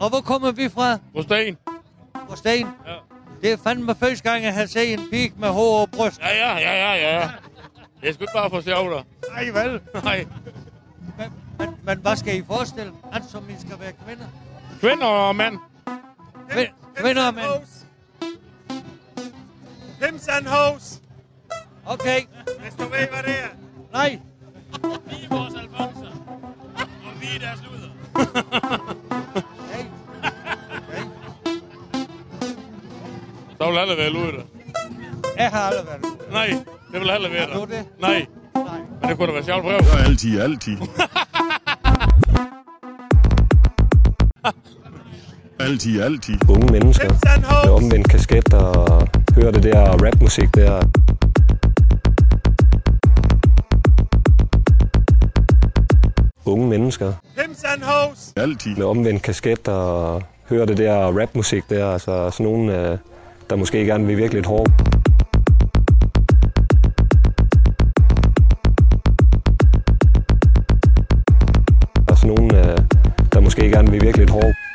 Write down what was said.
Og hvor kommer vi fra? På sten. Fra Sten. Ja. Det er fandme første gang, jeg har set en pik med hår og bryst. Ja, ja, ja, ja, ja. Det er sgu ikke bare for sjov, der. Nej, vel? Nej. Men, men, men hvad skal I forestille? At som I skal være kvinder? Kvinder og mænd. Kvi- Kvinder og mænd. Hims and hoes. Okay. Hvis du ved, hvad det er. Nej. Vi er vores alfonser. Og vi er deres luder. Hey. Okay. Så vil alle være luder. Jeg har aldrig været ude. Nej, det vil alle være Har du der. det? Nej, Nej. men det kunne da være sjovt at prøve. Så altid, altid. altid, altid. unge mennesker Hims and med hoes. omvendt kasket og hører det der rapmusik der. Unge mennesker Hims and hoes. Altid. med omvendt kasket og hører det der rapmusik der. Altså sådan nogen, øh, der måske gerne vil virkelig lidt hårdt. Altså Og sådan nogen, øh, der måske gerne vil virkelig lidt hårdt.